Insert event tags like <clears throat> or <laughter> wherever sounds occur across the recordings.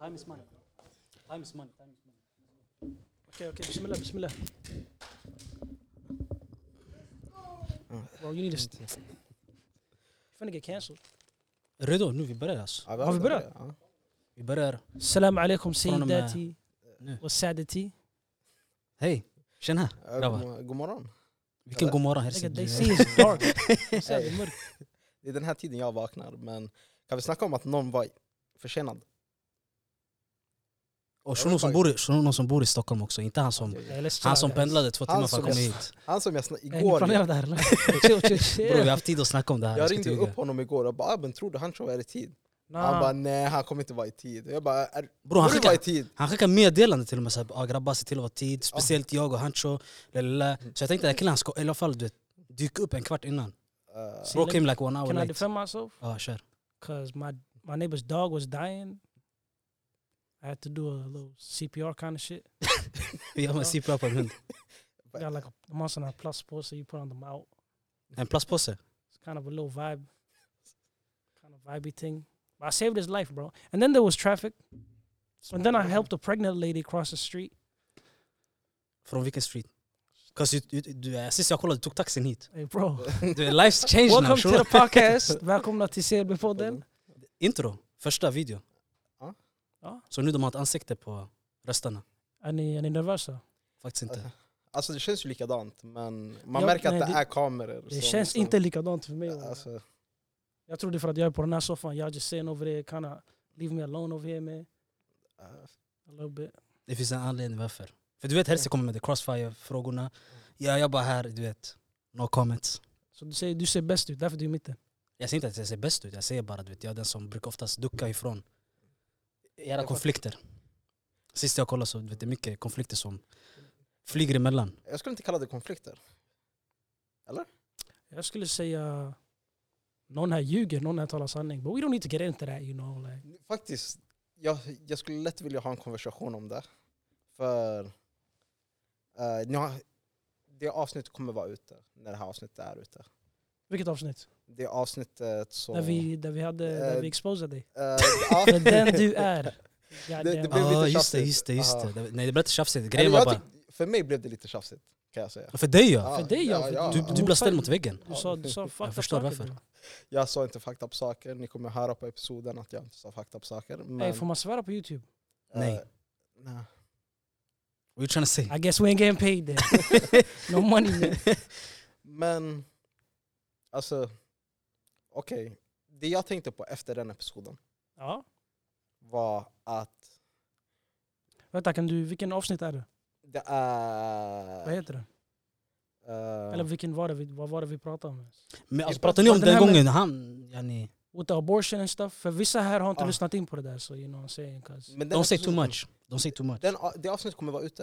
Time is money. Time is money. Time is money. Okay, okay. Bismillah, bismillah. Bro, you need to. St- You're finna get cancelled. Redo nu, vi börjar alltså. vi börjat? Ja. Vi börjar. Salam alaikum Från och med sayyidati nu. och sadati. Hej, tjena. Ja, Grabbar. god mor- God morgon. Vilken god morgon. hälsar Like, They du. say it's dark. De säger att det är mörkt. Det är den här tiden jag vaknar, men kan vi snacka om att någon var försenad? Och shunon som, bor i- shunon som bor i Stockholm också, inte han som, Nej, let's chill han out, som guys. pendlade två timmar Han för att som- komma hit. Han som jag sna- Eh, Ni igår... planerar det här eller? Chill, chill, Bror vi har chill. haft tid att snacka om det här. jag ska ringde inte ljuga. upp honom igår och bara ah, men tror du han kör är i tid? Han bara Nah, nej han kommer inte vara i tid. Och Jag bara är, Bror han får du vara i skickade, tid? han skickade meddelande till och med såhär, ah, grabbar se till att vara tid, speciellt jag och Hancho. Lalala. Så jag tänkte den här killen han ska i alla fall du vet, dyka upp en kvart innan. Eh, Bro came like one hour Can I late. defend myself? Ja kör. Cause my my neighbor's dog was dying. I had to do a little CPR kind of shit. Vi har en CPR på en hund. I got like a the monster and a plus support, so you put on them out. En plastpåse. It's kind of a little vibe, kind of vibey thing. But I saved his life, bro. And then there was traffic. And then I helped a pregnant lady cross the street. Från vilken street? 'Cause you, you, du, eh, sist jag kollade, du tog taxin hit. Hey, bro. <laughs> Du, eh, life's changed now. Welcome to the Sure. podcast. <laughs> Välkomna till CLB podden. Intro, första video. Ja. Ja. Så nu de har ett ansikte på rösterna. Är ni, är ni nervösa? Faktiskt inte. Alltså det känns ju likadant men man Ja, märker nej, att det, det- är kameror. Det känns inte likadant för mig. Alltså, Jag tror det är för att jag är på den här soffan. Jag just saying over there, kind of leave me alone over here man. eh, A little bit. Det finns en anledning varför. För du vet Herse kommer med the crossfire-frågorna. Ja, jag bara här, du vet. No comments. Så du säger du ser bäst ut, därför du är i mitten. Jag säger inte att jag ser bäst ut, jag säger bara du vet, jag är den som brukar oftast ducka ifrån fattar. era konflikter. Sist jag kollade så du vet, det är mycket konflikter som flyger emellan. jag skulle inte kalla det konflikter. Jag skulle säga någon här ljuger, någon här talar sanning. But we don't need to get into that you know. Like. Faktiskt, jag, jag skulle lätt vilja ha en konversation om det. För eh, ni har, det avsnittet kommer vara ute när det här avsnittet är ute. Vilket avsnitt? Det avsnittet som... Där vi, där vi, hade, där vi Eh, exposade <laughs> dig. <laughs> eh, ja. För den <laughs> du är. God Det- det damn. blev lite Ja, Ah, just det, tjafsigt. just det, just Ja. det. Det- Nej det blev inte tjafsigt, Eller grejen var jag bara... tyck- för mig blev det lite tjafsigt kan jag säga. För dig ja! Ja, För dig, ja, för Du, Ja. du blev ställd mot väggen. Du sa, du sa fuck Jag förstår varför. Jag sa inte fucked up saker, ni kommer höra på episoden att jag inte sa fucked up saker. Men, Hey, får man svära på youtube? eh, Nej. nej. What you trying to say? I guess we ain't getting paid <laughs> then. No money man. Men, alltså, okej. Det jag tänkte på efter den episoden Ja. var att Vänta, kan du, vilken avsnitt är det? det Vad är... heter det? eh, Eller vilken var det vi, vad var det vi pratade om? Men alltså, Jag pratar pratar ni om om den det här med- gången han... Ja, ni, With the abortion and stuff. För vissa här har inte Ah. lyssnat in på det där. So you know what I'm saying. 'cause- men den don't say too episoden- much. Don't say too much. Den, det avsnittet kommer vara ute.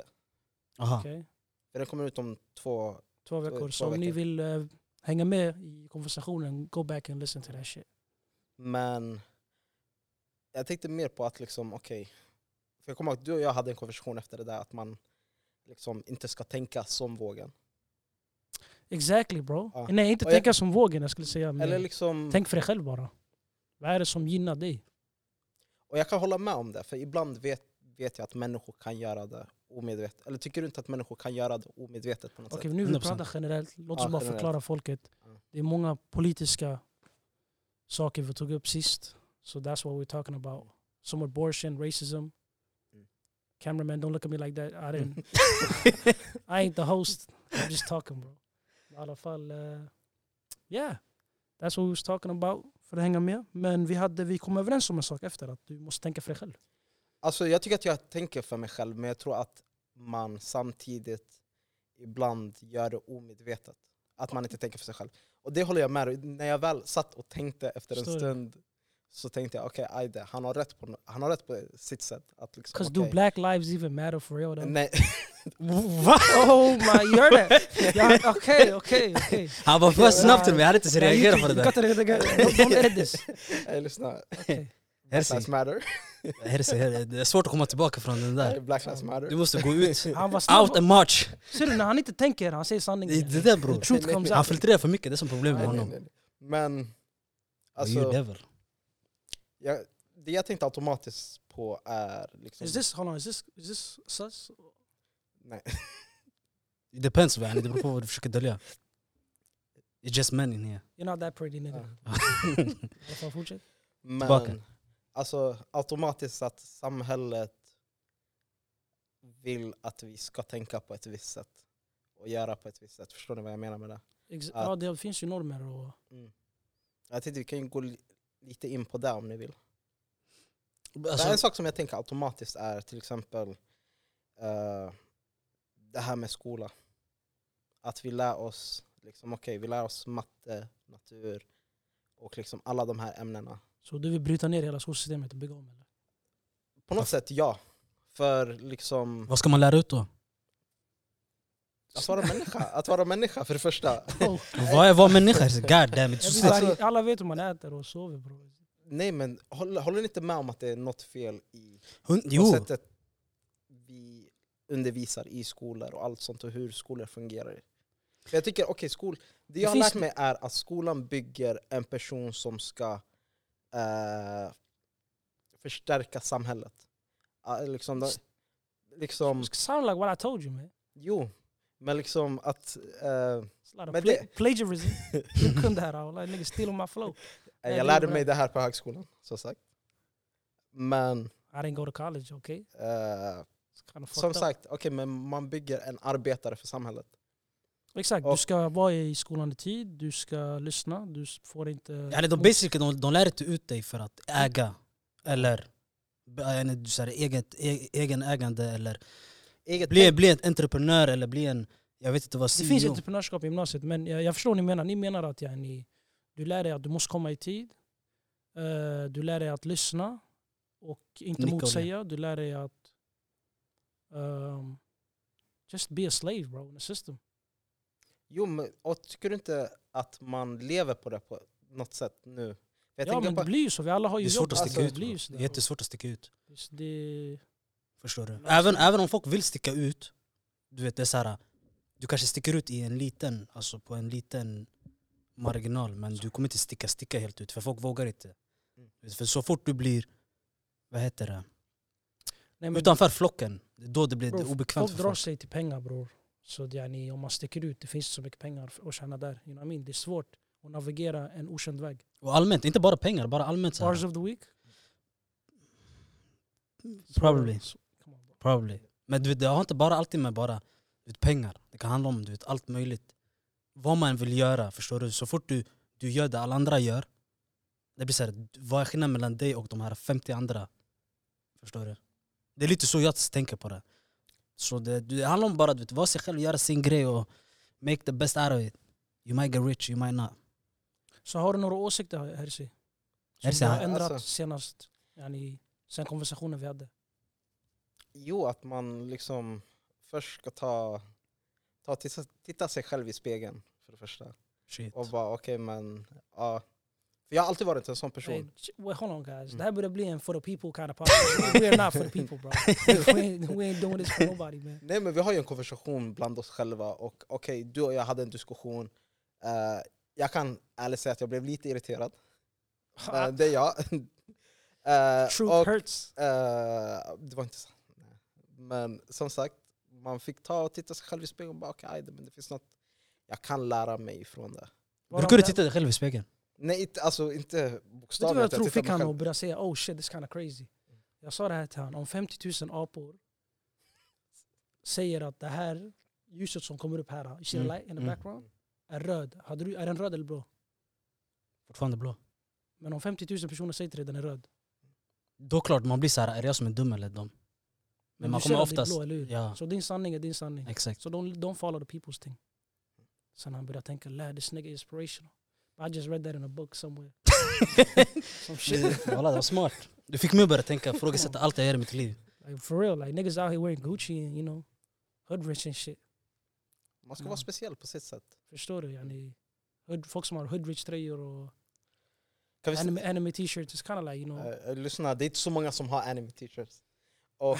Ah. Aha. Okej. Den kommer ut om två... Två veckor. två så om ni veckor. vill eh, hänga med i konversationen, go back and listen to that shit. Men jag tänkte mer på att liksom, okej. för jag kommer ihåg att du och jag hade en konversation efter det där att man liksom inte ska tänka som vågen. Exactly bro. Ja. Nej, inte Och jag- tänka som vågen jag skulle säga. Men Eller liksom, Tänk för dig själv bara. Vad är det som gynnar dig? och jag kan hålla med om det, för ibland vet, vet jag att människor kan göra det omedvetet. Eller tycker du inte att människor kan göra det omedvetet på något Okej, sätt? nu vill vi 100%. pratar generellt. Låt oss Ja, bara generellt. förklara folket. Ja. Det är många politiska saker vi tog upp sist. So that's what we're talking about. Some abortion, racism. Mm. Cameraman, don't look at me like that. I didn't. I ain't the host. I'm just talking bro. I alla fall, eh, yeah. That's what we was talking about. För att hänga med. Men vi, hade, vi kom överens om en sak efter att du måste tänka för dig själv. <laughs> Alltså jag tycker att jag tänker för mig själv, men jag tror att man samtidigt ibland gör det omedvetet. Att man inte tänker för sig själv. Och det håller jag med dig. När jag väl satt och tänkte efter en Förstår du? stund så tänkte jag okej, okay, Aide, han har, rätt på, no- han har rätt på sitt sätt. Att liksom, Cause do okej. black lives even matter for real though? Nej, <laughs> Va? Oh my, you heard that? Yeah, okay, okay, okay. Han var för snabb till mig, jag hade inte ens reagerat på det där. Don't edit this. <laughs> hey, lyssna. Black Lives Herse, matter. Herse, Herse, det är svårt att komma tillbaka från den där. Black Lives Du matter. måste gå ut, Han var out snabb. and march. Ser du, när han inte tänker, han säger Det är sanningen. det där bror. Truth comes Han out. filtrerar för mycket, det är som problemet med Nej, nej, honom. nej. Men, You alltså, devil. jag, det jag tänkte automatiskt på är liksom... Is this, hold on, is this, is this sus? Nej. It depends yani, det beror på vad du försöker dölja. It's just men in here. You're not that pretty nigga. Ja. Vad fan, fortsätt. Men Tillbaka. alltså automatiskt att samhället vill att vi ska tänka på ett visst sätt och göra på ett visst sätt. Förstår ni vad jag menar med det? Ex- Ja. Ja, det finns ju normer och... Jag tänkte vi kan ju gå li- lite in på det om ni vill. det är en alltså, sak som jag tänker automatiskt är till exempel eh, det här med skola. Att vi lär oss liksom, okej, vi lär oss matte, natur och liksom alla de här ämnena. Så du vill bryta ner hela skolsystemet och bygga om eller? På något sätt ja. För liksom... vad ska man lära ut då? Att vara människa, att vara människa för det första. Bro, Vad är vad människa? God damn it. jag Så- vill varje- alla vet hur man äter och sover bro. Mm. Nej men håller, håller ni inte med om att det är något fel i Hund- på Jo, sättet vi undervisar i skolor och allt sånt och hur skolor fungerar? För jag tycker, okej skol... Det jag har finns- lärt mig är att skolan bygger en person som ska eh, förstärka samhället. Ah, liksom, de- liksom, Sound like what I told you man. jo, men liksom att... Eh, It's a lot of Men pla- det- <laughs> plagiarism. Du kunde det här alla nigga stealing my flow. Nej, det jag är lärde bra. mig det här på högskolan, som sagt. Men... I didn't go to college, okay? Eh, It's kind of fucked som up. sagt, okay, men man bygger en arbetare för samhället. Exakt, du Och- ska vara i skolan i tid, du ska lyssna, du s- får inte... yani, de, basically, de, de lär inte ut dig för att äga eller b- yani, du säger eget, e, egenägande eller Eget bli, bli en entreprenör eller bli en, jag vet inte vad, E Det CEO. E finns entreprenörskap i gymnasiet, men jag, jag förstår vad ni menar. Ni menar att ja, ni, du lär dig att du måste komma i tid, eh, du lär dig att lyssna och inte Nicka och le. motsäga, du lär dig att... ehm, just be a slave bro, in the system. Jo, men, och tycker du inte att man lever på det på något sätt nu? Jag ja tänker men på, det blir ju så, vi alla har det ju är svårt jobb. att sticka alltså, ut. det blir ju bro. så Det där, är jättesvårt att sticka ut. bro. Så det, Förstår du? absolut. Även, även om folk vill sticka ut, du vet det är så här, du kanske sticker ut i en liten, alltså på en liten marginal men du kommer inte sticka, sticka helt ut för folk vågar inte. Mm. För så fort du blir, vad heter det, nej, men utanför flocken, det är då det blir Bro, det obekvämt folk för drar folk. sig till pengar bror. Så det är ni, om man sticker ut, det finns inte så mycket pengar f- att tjäna där. You know what I mean? Det är svårt att navigera en okänd väg. Och allmänt, inte bara pengar, bara allmänt så Bars här. of the week? Probably. Så- come on, bro. Probably. Men du vet, det har inte bara alltid med bara du vet, pengar. Det kan handla om du vet, allt möjligt. Vad man vill göra, förstår du? Så fort du, du gör det alla andra gör, det blir så här, vad är skillnaden mellan dig och de här 50 andra? Förstår du? Det är lite så jag tänker på det. Så det, det handlar om bara att vara sig själv, göra sin grej och make the best out of it. You might get rich, you might not. Så har du några åsikter Herzi? Som Herzi, du har han- ändrat alltså- senast, yani, sen konversationen vi hade? jo, att man liksom först ska ta, ta titta, titta sig själv i spegeln för det första. Shit. Och bara okej, men ja. För jag har alltid varit en sån Hey, person. ch- wait, hold on guys, Mm. det här börjar bli en for the people kind of podcast. We're not for the people <laughs> bro. We ain't, we ain't doing this for nobody man. Nej men vi har ju en konversation bland oss själva och okej, du och jag hade en diskussion. Eh, jag kan ärligt säga att jag blev <laughs> lite irriterad. Uh, Men det är jag. <laughs> Eh, Truth och, hurts. eh, det var inte så. nej. Men som sagt, man fick ta och titta sig själv i spegeln och bara okej, aj, men det finns något jag kan lära mig från det. Brukar du titta dig själv i spegeln? Nej, inte, alltså inte Vet du bokstavligt. vad jag tror tittar fick mig han själv. att börja säga oh shit this kind of crazy. Mm. Jag sa det här till honom, om 50 000 apor säger att det här ljuset som kommer upp här, you see the Mm, light in the mm. background, är röd. Hade du, är den röd eller blå? Fortfarande blå. Men om 50 000 personer säger till dig den är röd. Då klart, man blir så här, är det jag som är dum eller dum? Men man du ser kommer att det är oftast... Blå, eller hur? Ja, Så din sanning är din sanning. exakt. Så de, de follow the people's thing. Sen han började tänka, lär this nigga inspirational. I just read that in a book somewhere. Some shit. Oh, Walla, det var smart. Du fick mig att börja tänka, ifrågasätta allt jag gör i mitt liv. Like, for real, like niggas out here wearing Gucci and you know, hood rich and shit. Man ska Ja. vara speciell på sitt sätt. Förstår du? Yani, hood, folk som har hoodrich-tröjor och Kan vi s- anime, anime t-shirts, it's kind of like you know... eh, eh, lyssna, det är inte så många som har anime t-shirts. Och,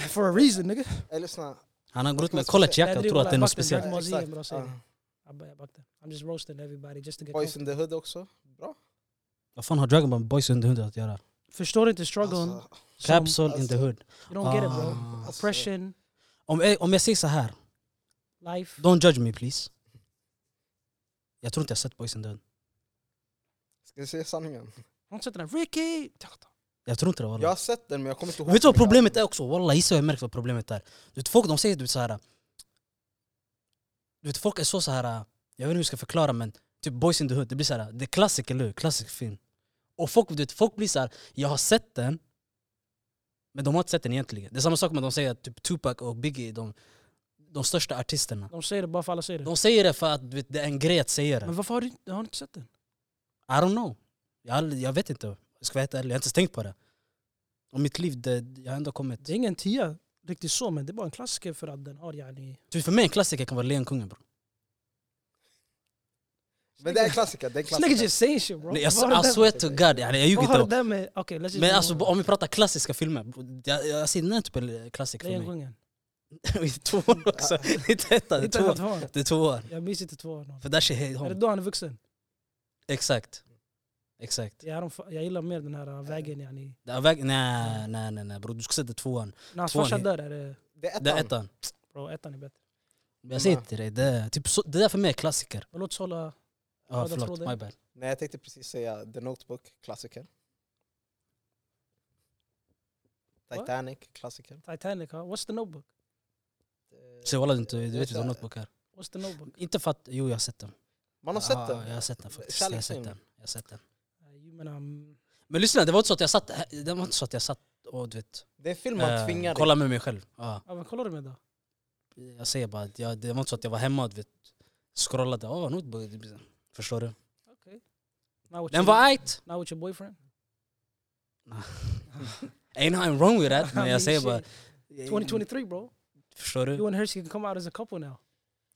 <laughs> For a reason nigga! eh, lyssna, Eh, Han har gått med collegejacka och tror att det är något speciellt. Dragon Ball Z, Exakt, bro, säg ja. det. I ba- I Ah, back that. I'm just roasting everybody just to get Boys comfy. in the Hood också. Bra. Vad fan har Dragon Ball Boys under hunden att göra? förstår inte struggeln. Alltså, som- Capsule in the hood. You don't get it bro. Ah. Alltså, Oppression, Om jag, om jag säger så här, life. don't judge me please. Jag tror inte jag sett boysen död. Ska jag säga sanningen? Hon sätter den här, Ricky! Jag tror inte det Jag wallah. har sett den men jag kommer inte ihåg. Vet du vad hur den problemet är också? Wallah, gissa jag märkt vad problemet är. Du vet, folk de säger typ så här. Du vet, folk är så så här. Jag vet inte hur jag ska förklara men typ Boys in the Hood, det blir så här. Det är klassiker, eller hur? Klassisk film. Och folk, du vet, folk blir så här. jag har sett den. Men de har inte sett den egentligen. Det är samma sak med att de säger att typ Tupac och Biggie är de, de största artisterna. De säger det bara för alla säger det. De säger det för att du vet, det är en grej att säga det. Men varför har du, inte- har du inte sett den? I don't know. Jag, har aldrig- jag vet inte. Jag ska vara helt ärlig, jag har inte ens tänkt på det. Och mitt liv, det, jag har ändå kommit. Det är ingen tia riktigt så, men det är bara en klassiker för att den har yani... Typ för mig en klassiker kan vara Lejonkungen bror. Men det är en klassiker. Det är <laughs> en This nigga klassiker. just saying shit bro. Nej, Vad har Jag, I det där- typ? swear to god, yani, jag ljuger Vad har det inte. där typ? med... Okej, let's just... Men alltså, om vi pratar klassiska filmer, bror, jag, jag ser den här typen av klassik för mig. Lejonkungen. <laughs> I tvåan också, <laughs> inte ettan, det är Inte ens tvåan. att ha den. Det är tvåan. Jag minns inte tvåan. För där ser hate Är det home. då han är vuxen? Exakt. Exakt. Jag, har de- jag gillar mer den här Eh, äh, vägen yani. Det är väg- Nej, nej, nej, nej bror du ska sätta tvåan. När hans Tvåan farsa är- dör är det... Det är Det är ettan. ettan. Bro, ettan är bättre. Men Jag säger till dig, det, är typ, så, det där för mig är klassiker. Men låt oss hålla... Ja, Ja, jag tror förlåt, det. my bad. Nej jag tänkte precis säga The Notebook, klassiker. What? Titanic, klassiker. Titanic, huh? what's the notebook? Så walla du inte, du vet ju Eh, vad notebook är. What's the <laughs> notebook? Inte för att, jo jag har sett den. Man har ja, sett den. Ah, Jag har sett den faktiskt. Jag har sett den. Jag har sett den. Uh, you mean, um, Men lyssna, det var inte så att jag satt, det var inte så att jag satt och du vet, Det är en film man eh, tvingar dig. kolla med mig själv. Ja. ja, vad kollar du med då? Jag säger bara att jag, det var inte så att jag var hemma och du vet, scrollade. Oh, notebook. Förstår du? Now with Den your- var ajt! Now with your boyfriend? Ain't nothing wrong with that. I <laughs> Men mean, jag säger bara, shit. 2023 bro. förstår You du? and Hershey can come out as a couple now.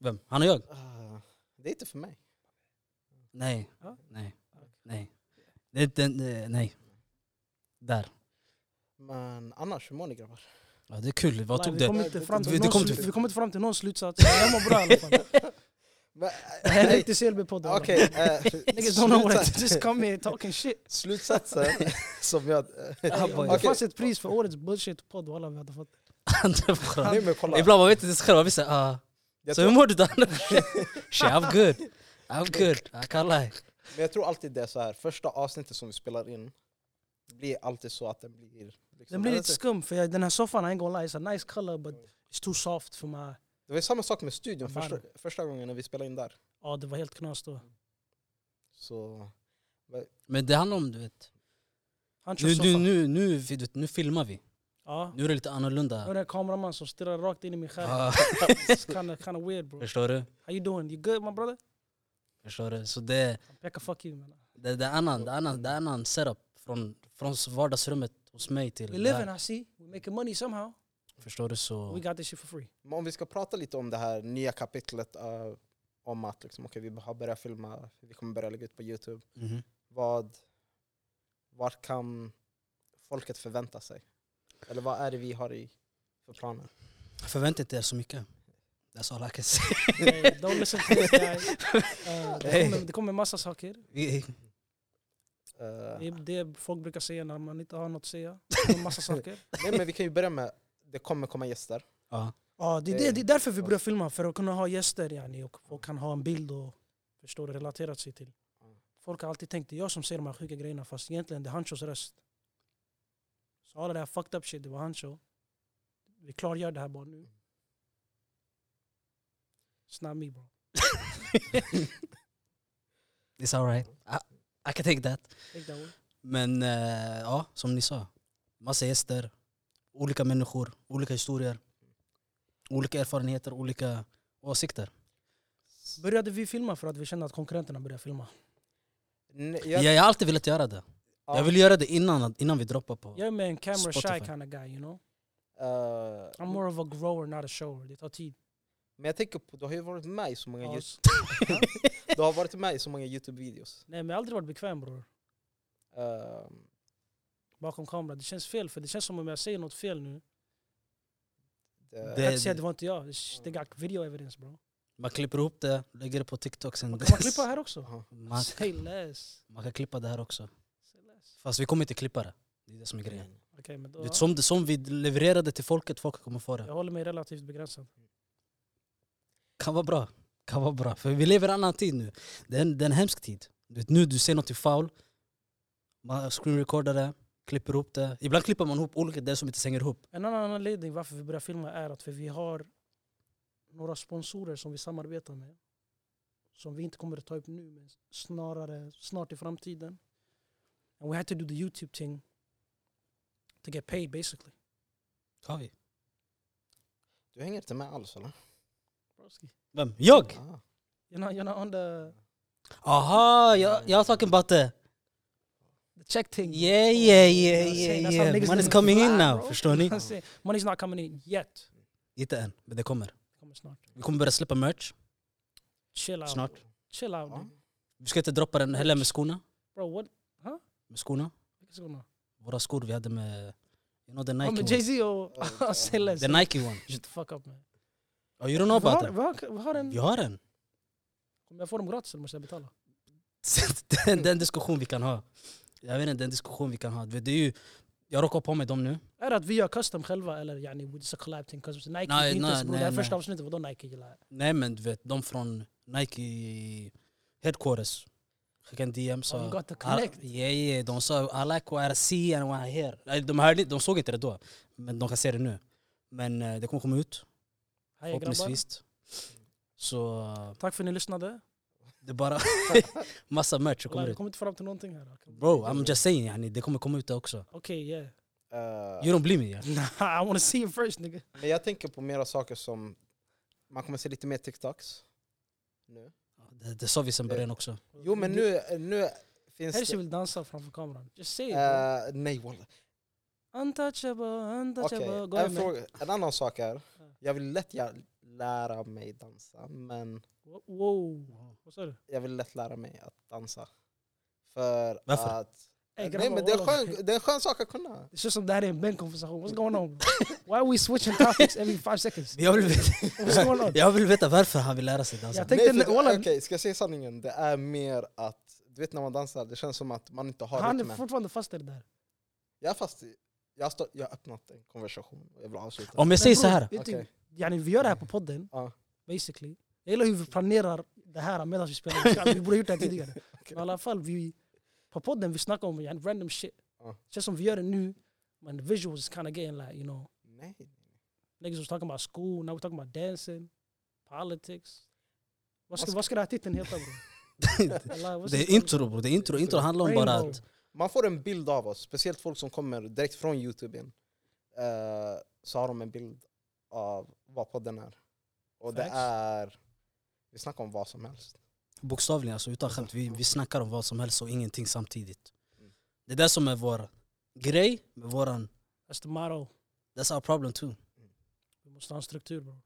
Vem? Han och jag? Ah, Det är inte för mig. Nej. Ja. Nej. Nej. Det, är inte- eh, nej. Där. Men annars, hur mår ni grabbar? Ja, det är kul. Vad Nej, tog vi det? Kommer inte fram till Vi- det någon kom slu- till- Vi kommer inte fram till någon slutsats. Jag mår bra i alla fall. Men, <laughs> Det här är nej, inte CLB-podden. eh, Okej, eh, Niggas don't know what slutsats- to just come here talking shit. <laughs> slutsatsen <laughs> som jag... <laughs> Ja, Om boy. Det fanns ett pris för årets bullshit-podd walla vi hade fått. <laughs> Andra program. Nej men kolla. Ibland man vet inte ens själv. Man blir så här, ah. Jag Så hur tror, men mår du då? <laughs> Shit, I'm good. <laughs> I'm good. I can't lie. jag tror alltid det är så här. första avsnittet som vi spelar in blir alltid så att den blir... Liksom, Den blir lite skum för jag, den här soffan, I ain't gonna lie, it's a nice color but it's too soft för mig. Det var ju samma sak med studion Varm. första, första gången när vi spelade in där. Ja det var helt knas då. Så Men det handlar om, du vet. Han kör Nu, nu, soffan. nu, nu, du vet, nu filmar vi. Ja. Nu är det lite Nu annorlunda. är det en kameraman som stirrar rakt in i min skärm. Ah, <laughs> <laughs> It's kinda, kinda weird bro. förstår du? How you doing? You good my brother? Förstår du? Så det, Han pekar fuck you man. det, det, är annan, det, är annan, det är annan setup från, från vardagsrummet hos mig We till living där. I see. We making money somehow. Förstår du? We Så, got this shit for free. <laughs> men om vi ska prata lite om det här nya kapitlet eh, om att liksom, okay, vi har börjat filma, vi kommer börja lägga ut på Youtube. Mhm. Vad, vad kan folket förvänta sig? Eller vad är det vi har i för planer? Förvänta inte er så mycket. That's all I can say. Hey, don't <laughs> listen to this guy. Eh, det, kommer, det kommer massa saker. Vi- Eh, Det är det folk brukar säga när man inte har något att säga. Det kommer massa saker. nej men vi kan ju börja med, det kommer komma gäster. Ja. Eh, Ja, det, är det, det är därför vi börjar filma, för att kunna ha gäster yani, och folk kan ha en bild och förstå det relaterat sig till. Mm. Folk har alltid tänkt det är jag som säger de här sjuka grejerna fast egentligen det är Hanchos röst. Så alla det här fucked up shit, det var Hancho. Vi klargör det här bara nu. Snabbt me bro. It's alright. I, I can take that. Take that one. Men eh, ja, som ni sa. Massa gäster, olika människor, olika historier. Olika erfarenheter, olika åsikter. Började vi filma för att vi kände att konkurrenterna började filma? Nej, Jag, jag, jag har alltid velat göra det. ja, Jag vill göra det innan, innan vi droppar på. Jag är med en camera shy Spotify. kind of guy you know. eh, I'm more of a grower not a shower. Det tar tid. men jag tänker på, du har ju varit med i så många, Ja, Youtube- s- du har varit med i så många Youtube-videos. Nej men jag har aldrig varit bekväm bror. Eh, bakom kameran. Det känns fel, för det känns som om jag säger något fel nu. det- Det, jag kan det- inte säga att det var inte jag. Sh- Det got video evidence bro. Man klipper ihop det, lägger det på TikTok sen. Man kan klippa här också. Jaha. <laughs> Man, Say less. man kan klippa det här också. Say less. Fast vi kommer inte klippa det. Det det som är grejen. Okej, men Du då, vet, som, det- som vi levererade till folket, folk kommer få jag det. håller mig relativt begränsad. Kan vara bra. Kan vara bra. För vi lever i en annan tid nu. Det är en, det är en hemsk tid. Du vet, nu du ser något foul, man screenrecordar det, klipper ihop det. Ibland klipper man ihop olika det som inte hänger ihop. En annan anledning varför vi börjar filma är att för vi har några sponsorer som vi samarbetar med. Som vi inte kommer att ta upp nu, men snarare snart i framtiden. And we had to do the YouTube thing to get paid basically. Har vi? Du hänger inte med alls eller? Broski. Vem? Jag? Ah. You're not, you're not on the, Aha, jag, jag har talking about det. the check thing. Yeah, yeah, You know what I'm yeah, saying? That's yeah, how yeah. niggas Man is do coming fly, in now, liksom bro. Alltså. <laughs> förstår ni? I'm saying, Money's not coming in yet. Inte än, men det kommer. Det kommer snart. Vi kommer börja släppa merch Chill out. snart. Chill out. Ja. nigga. Vi ska inte droppa den heller med skorna. Bro, what? Med skorna. What's going on? Våra skor vi hade med... You know the Oh, Nike men one. Jay-Z <laughs> och <laughs> Oh, Say Less. The Nike one. Shut the fuck up man. Oh, you don't know Vi har, about that? vi har, vi har en... Vi har en. <laughs> Kommer jag få dem gratis eller måste jag betala? den, den diskussion vi kan ha. Jag vet inte, den diskussion vi kan ha. Det är ju, jag råkar på mig dem nu. Är det att vi gör custom själva eller yani we just a collab thing? 'Cause Nike Nej, nej, inte ens nej, bror, det nej, här nej. första avsnittet, vadå Nike gillar? Nej men du vet, de från Nike headquarters skickade en DM sa... Oh, you got the "Al- connect." Yeah, yeah, de sa I like what I see and what I hear. Nej, De, hörde, inte- de såg inte det då, men de kan se det nu. Men eh, det kommer komma ut, Hej grabbar, förhoppningsvis. Så eh, tack för att ni lyssnade. det <laughs> är bara <laughs> massa merch som Kolla, kommer Mm. vi ut. kommer inte fram till någonting här. Bro, I'm just saying, yani, det kommer komma ut det också. Okej, yeah. <laughs> Eh, You don't believe me? yani. Nah, I wanna see it first nigga. men jag tänker på mera saker som, man kommer se lite mer TikToks. Nu. Det, det sa vi sen början också. Jo men nu, nu finns Hersi det... vill dansa framför kameran. Just say it. bro. eh, nej walla. Untouchable, Okej, untouchable. Gå en, hem med. fråga- en annan sak är, jag vill lätt gär- lära mig dansa, men Wow. Vad sa du? jag vill lätt lära mig att dansa. För Varför? att... Ey, nej grabbar, men det är, wallah. skön, det är en skön sak att kunna. Det känns som det här är en bänkkonversation. What's going on? bro? Why are we switching topics every five seconds? Jag vill, veta, <laughs> What's going on? jag vill veta varför han vill lära sig dansa. Jag tänkte, nej, för, wallah. Okej, ska jag säga sanningen? Det är mer att, du vet när man dansar, det känns som att man inte har Han är rytmen. fortfarande fast i det där. Jag är fast i, jag, har stå, jag har öppnat en konversation och jag vill avsluta. Om jag säger bror, så här. Vet Okej. du, yani, vi gör det här på podden, Ja. basically. Jag gillar hur vi planerar det här medan vi spelar. Vi borde ha gjort det här tidigare. Men i alla fall, vi, på podden vi snackar om yani, random shit. Ja. Känns som vi gör det nu, men the visuals is kind of getting like, you know. Nej. Niggas was talking about school, now we're talking about dancing, politics. Vad ska, Vad ska- vad ska den här titeln heta bror? Wallah, vad ska- <laughs> Det är intro bror, det är intro. Intro handlar om bara Rainbow. att... Man får en bild av oss, speciellt folk som kommer direkt från Youtube in, eh, så har de en bild av vad podden är. Och det Facts. är, vi snackar om vad som helst. Bokstavligen alltså, utan skämt. Vi, vi snackar om vad som helst och ingenting samtidigt. Mm. Det är det som är vår grej, med våran... That's the motto. That's our problem too. Vi måste ha en struktur <laughs> bror.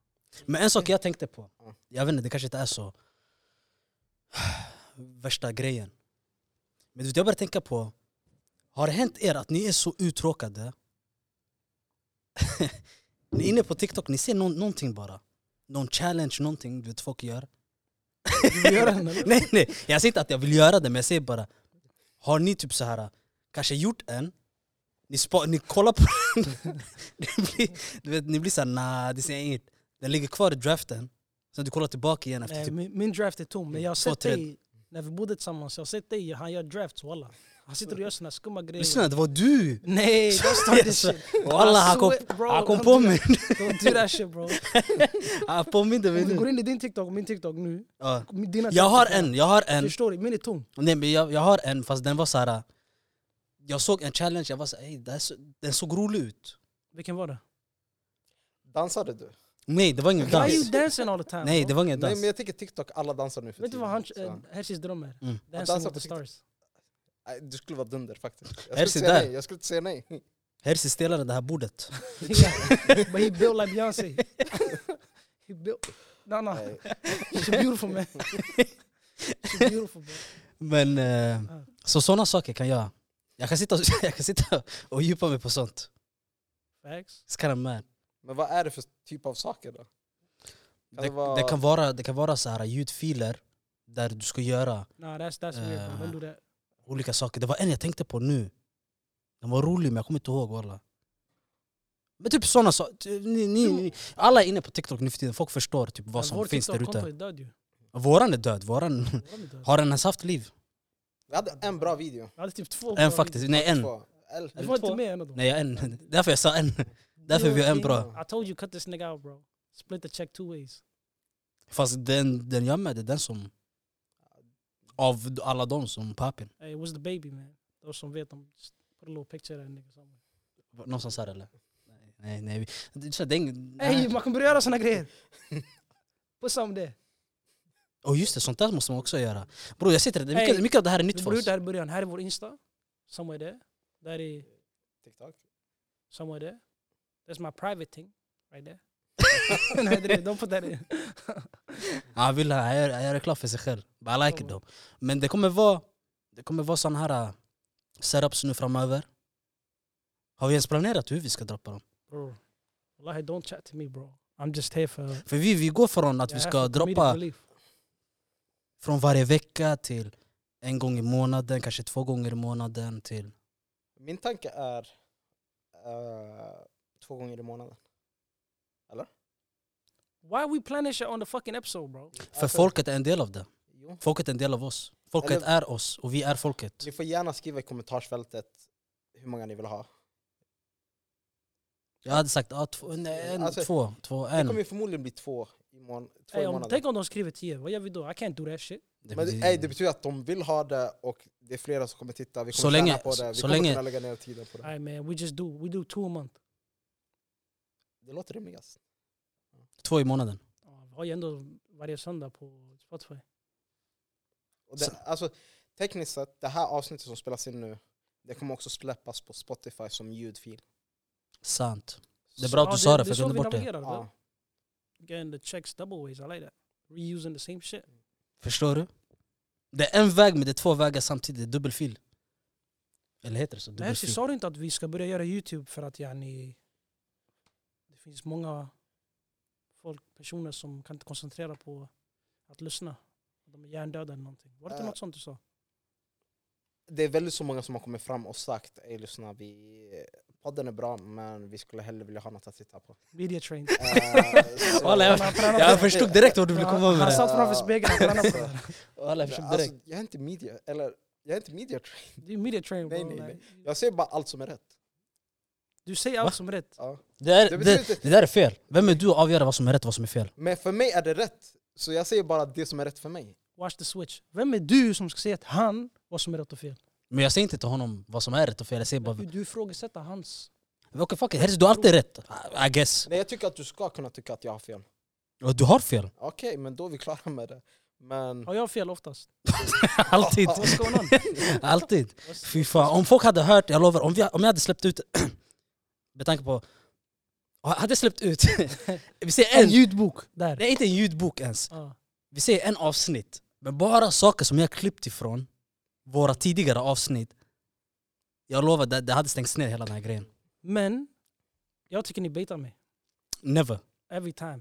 Men en sak jag tänkte på. Ja. Jag vet inte, det kanske inte är så... <sighs> Värsta grejen. Men du vet, jag började tänka på... Har det hänt er att ni är så uttråkade? <laughs> ni är inne på TikTok, ni ser nå- någonting bara. Någon challenge, någonting du vet folk gör. Vi gör den eller? <laughs> nej, nej. Jag säger inte att jag vill göra det, men jag säger bara Har ni typ så här kanske gjort en, ni, spa, ni kollar på <laughs> den, ni blir, du vet, ni blir såhär nah, det ser jag inget. Den ligger kvar i draften, sen du kollar tillbaka igen efter <laughs> Nej, typ min, min draft är tom, men jag har Två, sett tre. dig när vi bodde tillsammans, jag har sett dig, han gör drafts walla. Han sitter och gör såna skumma grejer. Lyssna, det <laughs> var du! <laughs> Alltså, Nej, don't start this Yes. shit. Walla, Alltså, han kom, I swear, bro, han kom don't på do mig! <laughs> that. Don't do that shit bro. Han påminde mig Om du går nu. in i din TikTok och min TikTok nu, Ja. min- dina Jag har TikTok, en, jag har en. Förstår du? Min är tom. Nej, men jag, jag har en, fast den var så här. Jag såg en challenge, jag var såhär, "Ey, det här så- den såg rolig ut. Vilken var det? Dansade du? Nej, det var ingen Why are you dans. dancing all the time? Nej, bro? det var ingen Nej dans. men jag tänker TikTok, alla dansar nu för Vet du vad han, så. eh, Hershey's dröm är? Mm. Dancing dansa with på the TikTok. stars. <laughs> Nej, Du skulle vara dunder faktiskt. Jag skulle, Hersi inte säga där. nej. jag skulle inte <laughs> säga nej. Herzi stelade det här bordet. Yeah. But he built like <laughs> Beyoncé. he built... No, no. Nej. She's beautiful man. She's beautiful bro. <laughs> Men eh, så sådana saker kan jag. Jag kan sitta och, <laughs> jag kan sitta och djupa mig på sånt. Facts. It's kind of mad. Men vad är det för typ av saker då? Kan Det, det vara- det kan vara, det kan vara så här ljudfiler där du ska göra Nah, that's that's weird. Bro. Don't do that. olika saker. Det var en jag tänkte på nu. Den var rolig men jag kommer inte ihåg walla. Men typ såna saker. Ni, ni, ni, alla är inne på TikTok nu för tiden, folk förstår typ vad Vår som finns där TikTok-konto ute. är död ju. Våran är död, våran... <laughs> Våran är död. Har den ens haft liv? Vi hade en bra video. Jag hade typ två. En faktiskt, nej en. Två. Eller- Du var inte Två. med i en av dem. Nej en. <laughs> Därför jag sa en. Därför vi har en bra. I told you cut this nigga out bro. Split the check two ways. Fast den, den jag med, det är den som... Av alla de som papin. Hey, where's the baby man? De som vet, de just put a little picture där nigga. somewhere. Någonstans här eller? Nej, nej. vi- Det, så det, är ingen- Hey, nej. man kan börja göra såna grejer. <laughs> Put something there. Och just det, sånt där måste man också göra. Bror jag sitter där, mycket, Ey, mycket av det här är Vi nytt för borde gjort oss. det här i början. Här är vår Insta. Somewhere there. Där är TikTok. somewhere there. That's my private thing. Right there. <laughs> Nej, det är- don't put that in. Han vill ha, han gör- han gör reklam för sig själv. But I like it though. Men det kommer vara, det kommer vara sån här äh, setups nu framöver. Har vi ens planerat hur vi ska droppa dem? Bro. Wallahi, don't chat to me bro. I'm just here for... För vi, vi går från att vi Jag är ska här för comedic droppa relief. från varje vecka till en gång i månaden, kanske två gånger i månaden till... Min tanke är eh, två gånger i månaden. Why we planning shit on the fucking episode bro? För folket är en del av det. Jo. Folket är en del av oss. Folket Alltså- Eller- är oss och vi är folket. Ni får gärna skriva i kommentarsfältet hur många ni vill ha. Jag hade sagt ah, två, nej, en, Alltså, två, två, Det kommer en. ju förmodligen bli två i, mån två Hey, i om, månaden. tänk om de skriver tio, vad gör vi då? I can't do that shit. Det Men blir- det, ey, det betyder att de vill ha det och det är flera som kommer titta. Vi Så kommer tjäna länge- på det. Vi så kommer länge- kunna lägga ner tiden på det. Alright man, we just do, we do two a month. Det låter rimligast. Två i månaden. Ja, Vi har ju ändå varje söndag på Spotify. Och det, Så- alltså, tekniskt sett, det här avsnittet som spelas in nu, det kommer också släppas på Spotify som ljudfil. Sant. Det är Så- bra att Ja, du sa det, är för jag så glömde vi bort det. navigerar, bro. Ja. Getting the checks double ways, I like that. Reusing the same shit. Förstår du? Det är en väg men det är två vägar samtidigt, det är dubbelfil. Eller heter det så? Men Dubbelfil. sa du inte att vi ska börja göra YouTube för att yani, det finns många folk, personer som kan inte koncentrera på att lyssna. De är hjärndöda eller någonting. Var det inte Äh. något sånt du sa? Det är väldigt så många som har kommit fram och sagt ey lyssna, vi, podden är bra men vi skulle hellre vilja ha något att <laughs> titta på. Media train. <laughs> Eh, <laughs> så- Walla, jag- Jag förstod direkt vad du ville komma med Han det. satt framför spegeln och kollade på <laughs> det. Walla, jag förstod direkt. Alltså, jag är inte media, eller jag är inte media trained. Det är media train Nej, bro. nej, nej. Like, Jag säger bara allt som är rätt. Du säger Va? allt som är rätt. Ja. Det, är, Det betyder det, inte- det där är fel. Vem är du att avgöra vad som är rätt och vad som är fel? Men för mig är det rätt, så jag säger bara det som är rätt för mig. Watch the switch. Vem är du som ska säga att han vad som är rätt och fel? Men jag säger inte till honom vad som är rätt och fel, jag säger bara Du, du ifrågasätter hans... okay, fuck it. Herregud, du har alltid rätt. I- I guess. Nej jag tycker att du ska kunna tycka att jag har fel. Och du har fel. <laughs> Okej, men då är vi klara med det. Men Har jag fel oftast? Alltid. What's going <laughs> on? Alltid. What's- Fy fan. Om folk hade hört, jag lovar, om, vi, om jag hade släppt ut... <clears throat> med tanke på... Hade jag släppt ut... <laughs> vi säger En en... ljudbok där. Det är inte en ljudbok ens. Ja. vi säger en avsnitt, men bara saker som jag klippt ifrån våra tidigare avsnitt. Jag lovar, det, det hade stängts ner hela den här grejen. Men jag tycker ni baitar mig. Never. Every time.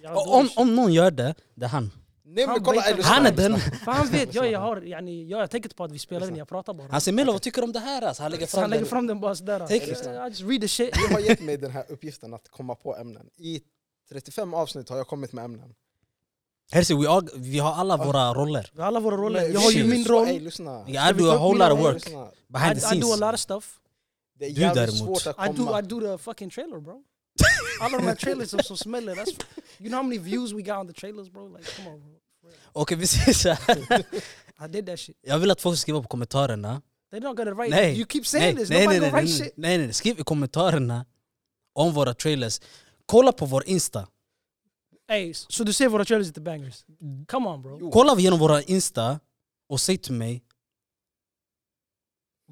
Jag Och går om, och- om någon gör det, det är han. Liksom. nej men Han kolla, baitar- ey, lyssna, Han är lyssna. den. För han vet, <laughs> jag, jag, har, yani, jag, jag tänker inte på att vi spelar in, jag pratar bara. Han säger Melo, vad tycker du om det här? Alltså, han lägger Så han fram lägger den. fram den bara sådär. Take it. I just read the shit. Du har gett mig den här uppgiften att komma på ämnen. I 35 avsnitt har jag kommit med ämnen. Här ser vi, all, vi har alla våra roller. Vi har alla våra roller. Men Jag har ju shit. min Så, roll. ey, I, lyssna. vi I do ta a upp whole mina lot of roller? work Lyssna. behind the I do a scenes. lot of stuff. Det är Du jävligt däremot. svårt att I do, komma. I do the fucking trailer bro. Alla de här trailers som, som smäller. That's, you know how many views we got on the trailers bro? Like come on bro. Okej, vi säger så här. I did that shit. Jag vill att folk skriver på kommentarerna. They're not gonna write Nej, You keep Nej, saying nej, this. nej, Nobody nej, gonna write nej, nej, shit. nej, nej. Skriv i kommentarerna om våra trailers. Kolla på vår Insta. Hey, så du ser våra trailers inte bangers? Come on bro. Jo. Kolla igenom våra Insta och säg till mig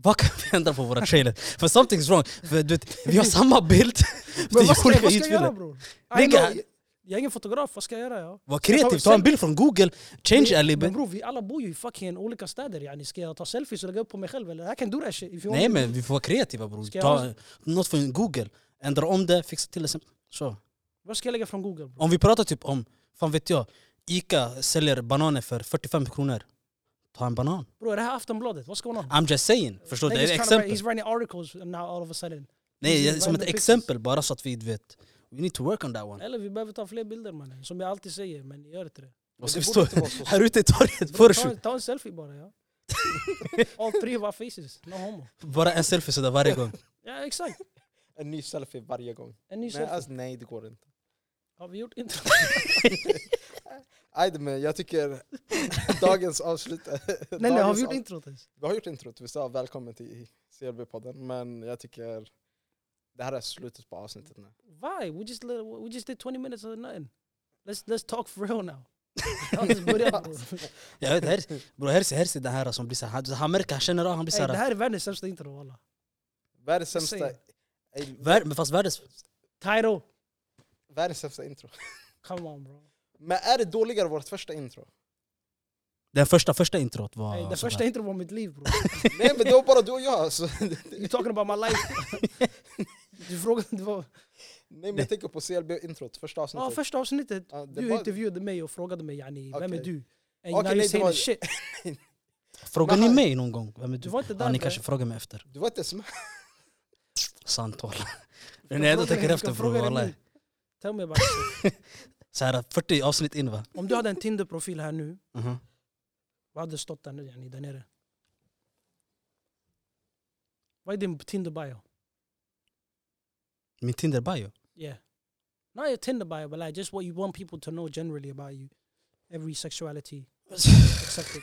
vad kan vi ändra på våra trailers? För something's wrong. För, du vet, vi har samma bild. <laughs> <laughs> Men vad ska, olika vad ska jag ljudfiler. göra bror? I Nigga. know, Jag är ingen fotograf, vad ska jag göra? Ja? Var kreativ, ta en bild från google, change a little Men bit. bror vi alla bor ju i fucking olika städer yani. Ska jag ta selfies och lägga upp på mig själv eller? I can do that shit if you Nej want men vi får vara kreativa bror. Ska jag Ta något från google, ändra om det, fixa till det. sen. Så. Vad ska jag lägga från google? Bro? Om vi pratar typ om, fan vet jag, Ica säljer bananer för 45 kronor. Ta en banan. Bro, är det här Aftonbladet? What's going on? I'm just saying. Förstår du? Niggas Det är ett trying to write- exempel. He's writing articles now all of a sudden. Nej, he's jag- som writing ett pictures. exempel bara så att vi vet. We need to work on that one. Eller vi behöver ta fler bilder mannen. Som jag alltid säger, men gör inte det. Och Det så vi borde står inte vara så- här ute i torget, Bro, photoshoot. ta, ta en selfie bara ja. All three of our faces, no homo. Bara en selfie sådär varje gång. Ja exakt, En ny selfie varje gång. en ny Men selfie. alltså, nej, det går inte. Har vi gjort <laughs> intro? Aj, men <laughs> jag tycker dagens avslut... Nej nej, har vi gjort dagens introt ens? Vi har gjort introt, vi sa välkommen till CLB-podden, men jag tycker det här är slutet på avsnittet nu. Why? We just li- we just did 20 minutes of nothing. Let's let's talk for real <laughs> now. Ja, det börjar, bro. Jag vet, här, bro, här, ser- här ser den här som blir såhär. Han märker, han känner av, han blir Ey, det såhär. här är världens sämsta intro walla. Världens sämsta, Säg. ey, Vär, men fast världens... Title, världens sämsta intro. come on bro. Men är det dåligare än vårt första intro? Den första, första introt var Ey, det sådär. första intro var mitt liv bro. Nej men det var bara du och jag. alltså. Så. You talking about my life. du frågade, det var, Nej men jag tänker på CLB-introt, första ja avsnittet. första avsnittet. Ja, det Du var- intervjuade mig och frågade mig yani, vem är Okej. du? Ey, Okej, now you nej, det saying var- shit. Frågar Men ni han- mig någon gång? Vem är Du du? var inte Ja, där ni bro. kanske frågar mig efter. Du var inte smart. Sant walla. Jag När jag ändå frågar- tänker jag efter bror frågar dig walla. nu. Tell me about it. Såhär 40 avsnitt in va? Om du hade en Tinder-profil här nu, Mhm. vad hade det stått där nu yani, där nere? Vad är din Tinder-bio? Min Tinder bio. Yeah. Not your Tinder bio, but like just what you want people to know generally about you. Every sexuality. accepted.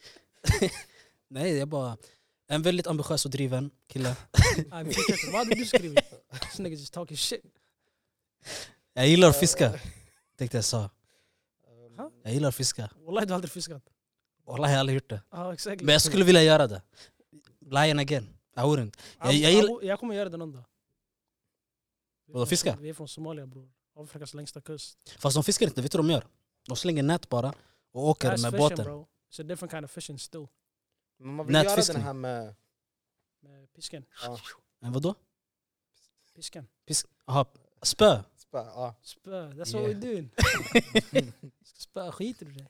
<laughs> Nej, jag bara... En väldigt ambitiös och driven kille. Ah, vi fortsätter. Vad hade du skrivit? This nigga just talking shit. Jag gillar att Ehm, fiska, tänkte jag sa. Ha? Jag gillar att fiska. Wallahi du har aldrig fiskat. Wallah, jag har aldrig gjort det. Ja exakt. Men jag skulle vilja göra det. Lion again. I wouldn't. jag- jag gillar- jag kommer göra det någon dag. Vi är Vadå, från- fiska? Vi är från Somalia bror. Afrikas längsta kust. Fast de fiskar inte, vet du vad de gör? De slänger nät bara och åker That's med fishing, båten. bro. It's a different kind of fishing still. Men man vill göra den Nätfiskning. här med... Med pisken. Ja. Men vadå? Pisken. Jaha, spö. <laughs> spö, Ja. Spö. That's what Yeah. we're doing. Spö, skiter du i det?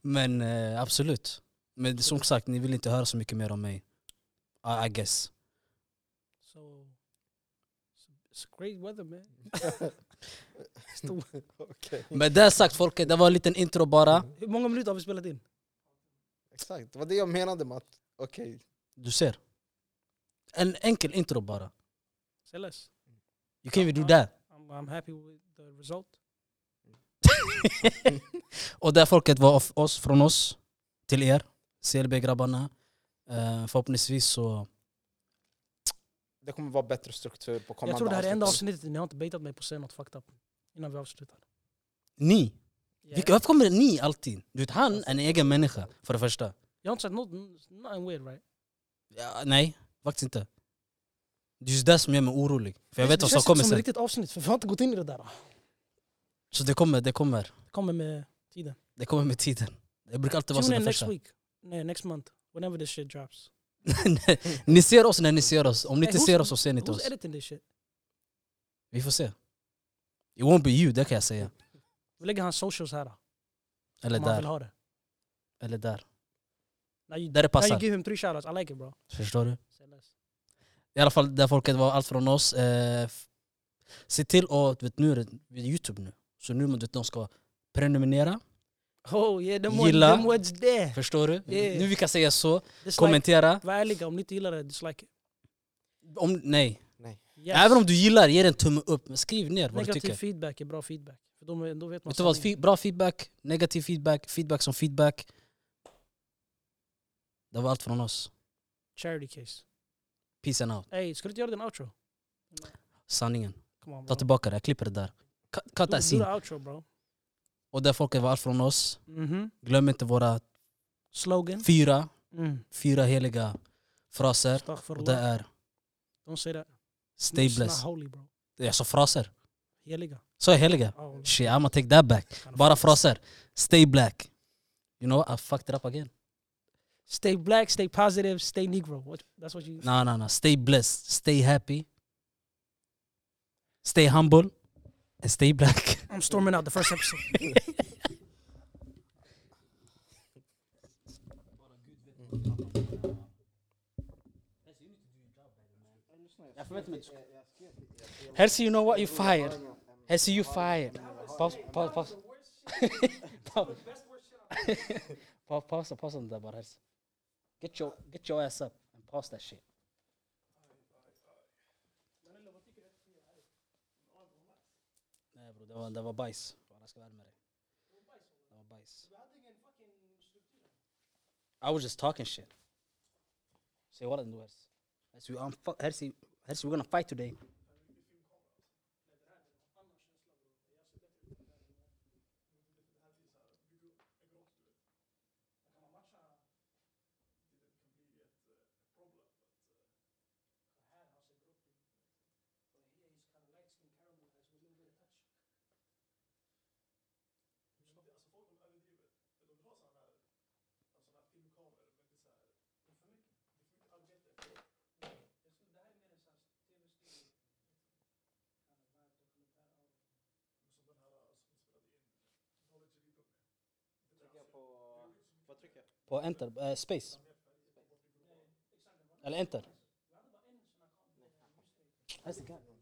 Men eh, absolut. Men som sagt, ni vill inte höra så mycket mer om mig. I, I guess. So, it's great weather man. Okej. Men det sagt folket, det var en liten intro bara. Hur många minuter har vi spelat in? Exakt, det var det jag menade med att... Okej. Du ser. En enkel intro bara. Say less. You can even do that. I'm, I'm happy with the result. Och det folket var av oss, från oss till er. CLB-grabbarna. Eh, förhoppningsvis så... Det kommer vara bättre struktur på kommande jag tror det här är enda avsnitt. avsnittet ni har inte baitat mig på att säga något fucked up. Innan vi avslutar. Ni! Yeah. Vilka, varför kommer ni alltid? Du vet, han är en egen människa, för det första. Jag har inte sagt något, nothing weird right? Ja, nej, faktiskt inte. Det är just det som gör mig orolig. För jag Det- vet det vad som känns kommer inte som ett sen. riktigt avsnitt för vi har inte gått in i det där. Så det kommer, det kommer. Det kommer med tiden. Det kommer med tiden. Det brukar alltid vara så uh, Tune det in next första. week. Nej, next month. Whenever this shit drops. ni ser oss när ni ser oss. Om ni Hey, inte who's- ser oss så ser ni inte Who's oss. editing this shit? Vi får se. It won't be you, det kan jag säga. Vi lägger hans socials här. Om Eller han vill där. ha det. Eller där. Now you, Där det now you passar. give him three shoutouts, I like it bro. Förstår du? Say less. I alla fall, det folket var allt från oss. Eh, f- se till att, du vet, nu är det Youtube nu. Så nu måste de ska prenumerera. Oh yeah, them, one, Gilla. them words there. Förstår du? Yeah. Nu vi kan säga så. Dislike. Kommentera. Var ärliga, om ni inte gillar det, dislike it. Om, nej. Yes. Även om du gillar, ge den tumme upp. Men skriv ner vad du Negativ tycker. feedback är bra feedback. För då, då vet man Vet du vad? sanningen. Fe- bra feedback, negativ feedback, feedback som feedback. Det var allt från oss. Charity case. Peace and out. Ey, ska du inte göra din outro? Sanningen. Come on, Ta bro. tillbaka det, jag klipper det där. Cut- Cut that Do, do scene. the outro bro. Och det folket var allt från oss. Mhm. Glöm inte våra Slogan. fyra, Mm. fyra heliga fraser. Och det er Astaghfirullah. är Don't say that. stay It's not blessed. holy bro. Jag sa fraser. Heliga. Så jag heliga? Oh, Shit, I'ma take that back. Bara fraser. Stay black. You know what? I fucked it up again. Stay black, stay positive, stay negro. What, that's what you... No, no, no. Stay blessed. Stay happy. Stay humble. And stay black. I'm storming out the first episode. lyssna. Jag förväntar mig att du Jag- jag skrev till er. Hersey, you know what? You fired. Hersey, you fired. Paus, paus, paus. <laughs> Paus. <laughs> Pa- Pausa, pausa den där bara Hersey. Get your, get your ass up and pause that shit. Nej bror, det var, det var bajs. Fan, Jag ska vara ärlig med dig. Det var bajs. I was just talking shit. Säg walla nu Hersey. Hersey, I'm fu- Hersey, Hersey, we're gonna fight today. Vad trycker jag? På enter, eh, space. Eller enter. That's the guy.